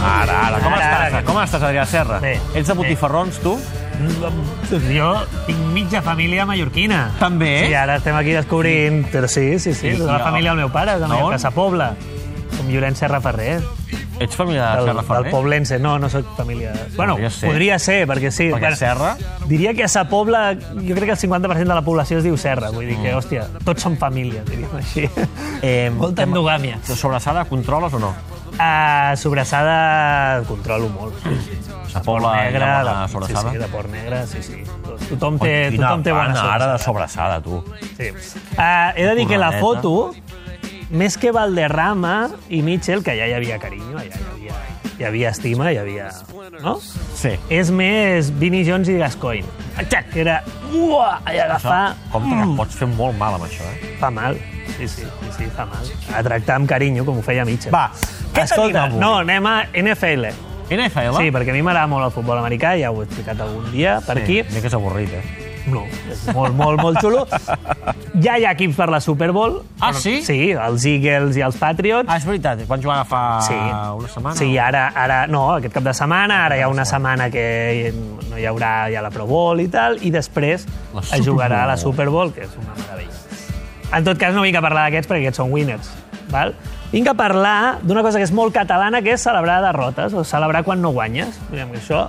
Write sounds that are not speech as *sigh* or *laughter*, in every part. Ara, ara, com Ara, ara, estàs? ara, Ara, que- com estàs, Adrià Serra? Bé. Ets de Bé. botifarrons, tu? Jo tinc mitja família mallorquina. També? Sí, ara estem aquí descobrint... Però sí, sí, sí. Sí, tota no. la família del meu pare, de no? No? Casa Pobla. Som Llorenç Serra Ferrer. Ets família de Del, Ah, Serra del Ferrer? Poblense. No, no sóc família... Bueno, Podria ser. podria ser, perquè sí. Perquè Serra... Diria que a Sa Pobla, jo crec que el 50% de la població es diu Serra. Vull dir Mm. que, hòstia, tots són família, diríem així. Eh, Molta tema- endogàmia. De sobrassada, controles o no? Uh, sobrassada controlo molt. La Pobla hi ha Negra, bona de, sí, sobrassada? sí, de por negre, sí, sí. Doncs Tothom Ui, té, quina tothom té bona pana, sobrassada. Ara de sobrassada, tu. Sí. Uh, he de dir que la Cornadeta. foto, més que Valderrama i Mitchell, que ja hi havia carinyo, ja hi havia, hi havia estima, hi havia... No? Sí. És més Vinnie Jones i Gascoigne. Aixac, que era... Uah, i Això, agafar... compte Mm. que et pots fer molt mal amb això, eh? Fa mal. Sí, sí, sí, sí, fa mal. A tractar amb carinyo, com ho feia Mitchell. Va, què tenim Escolta, avui? no, anem a NFL. NFL? Sí, perquè a mi m'agrada molt el futbol americà, ja ho he explicat algun dia per Sí, aquí. Una mica és avorrit, eh? No, és molt, molt, molt *laughs* xulo. Ja hi ha equips per la Super Bowl. Ah, sí? Sí, els Eagles i els Patriots. Ah, és veritat. Quan jugava fa sí. una setmana? Sí, ara, ara, no, aquest cap de setmana, ara hi ha una setmana que no hi haurà ja la Pro Bowl i tal, i després La es Super jugarà Bowl. a la Super Bowl, que és una meravella. En tot cas, no vinc a parlar d'aquests, perquè aquests són winners, val? Vinc a parlar d'una cosa que és molt catalana, que és celebrar derrotes, o celebrar quan no guanyes. Diguem que això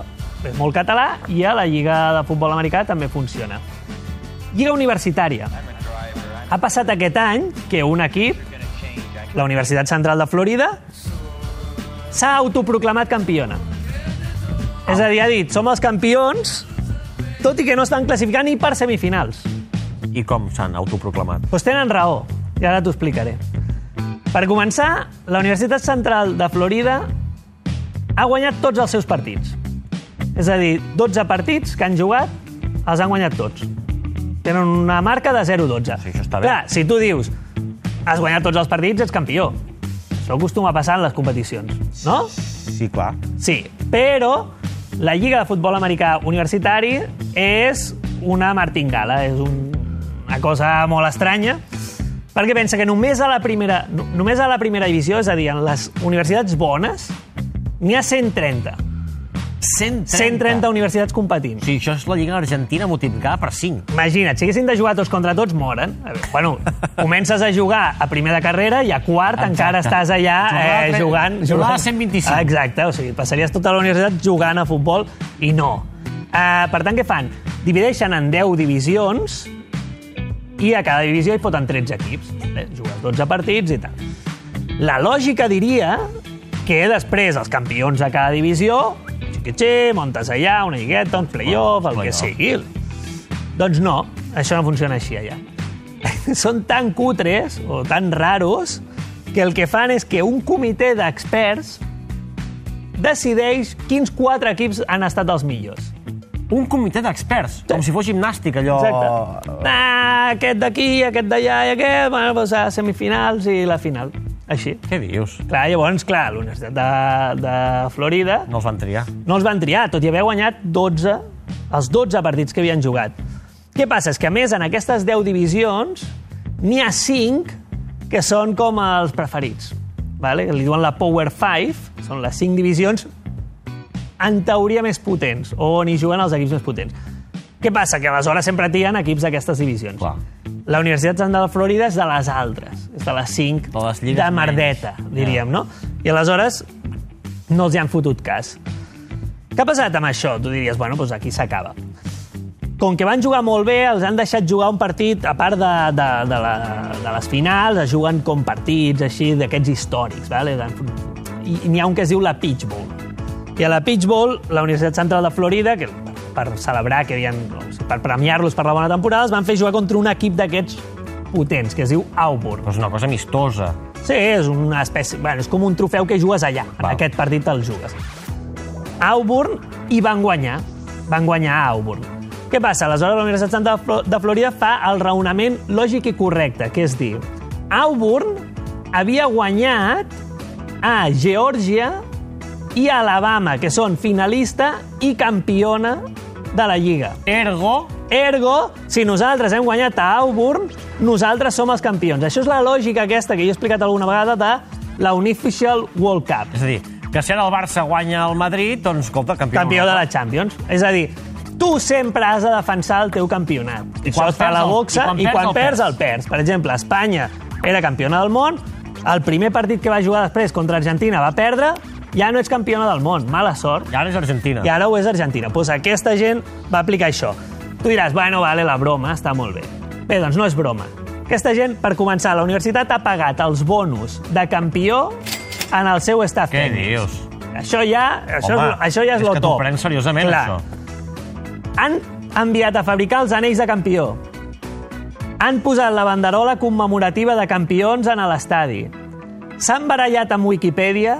és molt català, i a la Lliga de Futbol Americà també funciona. Lliga Universitària. Ha passat aquest any que un equip, la Universitat Central de Florida, s'ha autoproclamat campiona. És a dir, ha dit, som els campions, tot i que no estan classificant ni per semifinals. I com s'han autoproclamat? Doncs tenen raó, i ara t'ho explicaré. Per començar, la Universitat Central de Florida ha guanyat tots els seus partits. És a dir, 12 partits que han jugat, els han guanyat tots. Tenen una marca de 0-12. Sí, això està bé. Clar, si tu dius, has guanyat tots els partits, ets campió. Això acostuma a passar en les competicions, no? Sí, clar. Sí, però la Lliga de Futbol Americà Universitari és una martingala, és un, una cosa molt estranya, perquè pensa que només a la primera, no- només a la primera divisió, és a dir, en les universitats bones, n'hi ha 130. 130. 130 universitats competint. O sigui, això és la Lliga Argentina multiplicada per 5. Imagina't, si haguessin de jugar tots contra tots, moren. A veure, *laughs* Bueno, comences a jugar a primer de carrera i a quart Exacte. Exacte. encara estàs allà Jornada eh, tre- jugant, jornada 125. Exacte, o sigui, passaries tota la universitat jugant a futbol i no. Uh, per tant, què fan? Divideixen en 10 divisions i a cada divisió hi foten 13 equips. Eh, Jugues 12 partits i tal. La lògica diria que després els campions de cada divisió, xixi, montes allà, una lligueta, un playoff, el que Playoff. sigui. Doncs no, això no funciona així allà. *laughs* Són tan cutres o tan raros que el que fan és que un comitè d'experts decideix quins quatre equips han estat els millors. Un comitè d'experts, com si fos gimnàstic, allò... Exacte. Ah, aquest d'aquí, aquest d'allà i aquest, bueno, doncs a semifinals i la final. Així. Què dius? Clar, llavors, clar, a l'Universitat de, de Florida No els van triar. no els van triar, tot i haver guanyat 12, els 12 partits que havien jugat. Què passa? És que, a més, en aquestes 10 divisions, n'hi ha 5 que són com els preferits. Vale? Li diuen la Power 5, són les 5 divisions en teoria més potents, on hi juguen els equips més potents. Què passa? Que aleshores sempre trien equips d'aquestes divisions. Clar. La Universitat Central de Florida és de les altres, és de les 5 De les lligues de merdeta, menys. diríem, no? I aleshores no els hi han fotut cas. Què ha passat amb això? Tu diries, bueno, doncs aquí s'acaba. Com que van jugar molt bé, els han deixat jugar un partit, a part de, de, de, la, de les finals, es juguen com partits així d'aquests històrics. Vale? I i n'hi ha un que es diu la Peach Bowl. I a la Peach Bowl, la Universitat Central de Florida, que per, per celebrar, que havien, o sigui, per premiar-los per la bona temporada, els van fer jugar contra un equip d'aquests potents, que es diu Auburn. Però és una cosa amistosa. Sí, és una espècie... Bueno, és com un trofeu que jugues allà. En Val. aquest partit el jugues. Auburn i van guanyar. Van guanyar a Auburn. Què passa? Aleshores, la Universitat Santa de Flo- de Florida fa el raonament lògic i correcte, que és dir, Auburn havia guanyat a Geòrgia i Alabama, que són finalista i campiona de la Lliga. Ergo... Ergo, si nosaltres hem guanyat a Auburn, nosaltres som els campions. Això és la lògica aquesta que jo he explicat alguna vegada de la Unificial World Cup. És a dir, que si ara el Barça guanya el Madrid, doncs, escolta, campió. Campió de la Champions. És a dir, tu sempre has de defensar el teu campionat. I Això quan et fa perds la el- boxa i quan perds, el perds. Per exemple, Espanya era campiona del món, el primer partit que va jugar després contra Argentina va perdre, ja no ets campiona del món, mala sort. I ara és Argentina. I ara ho és Argentina. Pues aquesta gent va aplicar això. Tu diràs, bueno, vale, la broma, està molt bé. Bé, doncs no és broma. Aquesta gent, per començar, la universitat ha pagat els bonus de campió en el seu staff Què tècnic. dius? Això ja, això, Home, és, això ja és, és lo que t'ho top. prens seriosament, Clar. això. Han enviat a fabricar els anells de campió. Han posat la banderola commemorativa de campions en l'estadi. S'han barallat amb Wikipedia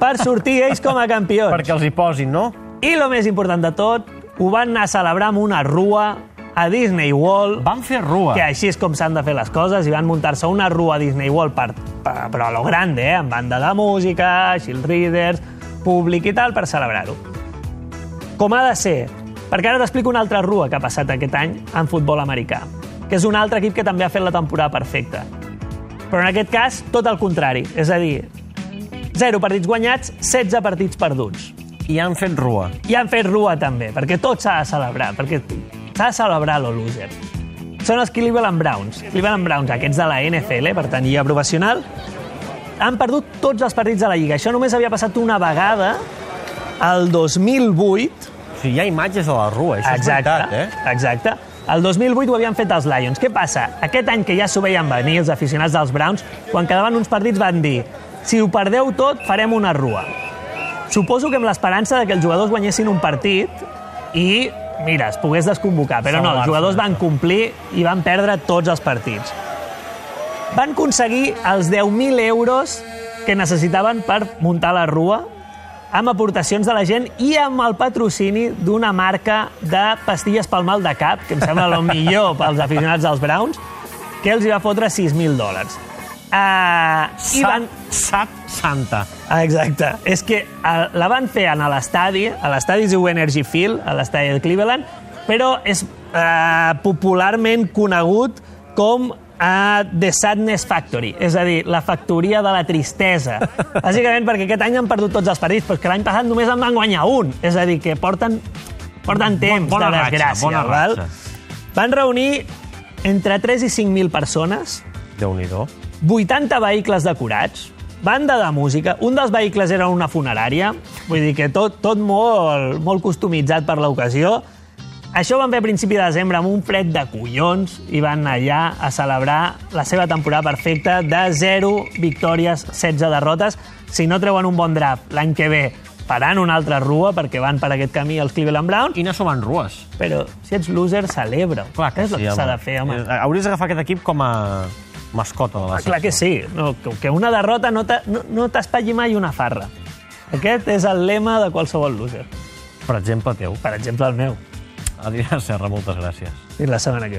per sortir ells com *laughs* a campions. Perquè els hi posin, no? I el més important de tot, ho van anar a celebrar amb una rua a Disney World, Van fer rua. que així és com s'han de fer les coses, i van muntar-se una rua a Disney World, per, per, però a lo grande, eh? amb banda de música, shield readers, públic i tal, per celebrar-ho. Com ha de ser? Perquè ara t'explico una altra rua que ha passat aquest any en futbol americà, que és un altre equip que també ha fet la temporada perfecta. Però en aquest cas, tot el contrari. És a dir, 0 partits guanyats, 16 partits perduts I han fet rua. i han fet rua també, perquè tot s'ha de celebrar, perquè s'ha de celebrar lo loser. Són els Cleveland Browns. Cleveland Browns, aquests de la NFL, per tant, lliga professional, han perdut tots els partits de la Lliga. Això només havia passat una vegada, el 2008, O sigui, hi ha imatges de la rua, això Exacte, és veritat, eh? exacte. El 2008 ho havien fet els Lions. Què passa? Aquest any que ja s'ho veien venir els aficionats dels Browns, quan quedaven uns partits van dir si ho perdeu tot, farem una rua. Suposo que amb l'esperança de que els jugadors guanyessin un partit i, mira, es pogués desconvocar. Però no, els jugadors van complir i van perdre tots els partits. Van aconseguir els 10.000 euros que necessitaven per muntar la rua amb aportacions de la gent i amb el patrocini d'una marca de pastilles pel mal de cap, que em sembla el millor *laughs* pels aficionats dels Browns, que els hi va fotre 6.000 dòlars. Uh, I van... Sat, Sat Santa. Ah, Exacte. És que eh, la van fer en l'estadi, a l'estadi es diu Energy Field, a l'estadi de Cleveland, però és eh, popularment conegut com a The Sadness Factory, és a dir, la factoria de la *laughs* tristesa. Bàsicament perquè aquest any han perdut tots els partits, però és que l'any passat només en van guanyar un. És a dir, que porten, porten temps bona de ratxa, desgràcia. bona val? ratxa. Van reunir entre 3 i 5.000 persones, Déu-n'hi-do. 80 vehicles decorats, banda de música, un dels vehicles era una funerària, vull dir que tot, tot molt, molt customitzat per l'ocasió. Això van fer a principi de desembre amb un fred de collons i van anar allà a celebrar la seva temporada perfecta de 0 victòries, 16 derrotes. Si no treuen un bon draft l'any que ve, faran una altra rua perquè van per aquest camí els Cleveland Browns, I anar sumant rues. però si ets loser, celebra. Clar que és el sí, que s'ha home. de fer, home. Eh, Hauries d'agafar aquest equip com a mascota de la secció. Ah, Clar que sí. No, que- que una derrota no te- no, no t'espatlli mai una farra. Aquest és el lema de qualsevol loser. Per exemple, teu. Per exemple, el meu. Adrià Serra, moltes gràcies. I la setmana que ve.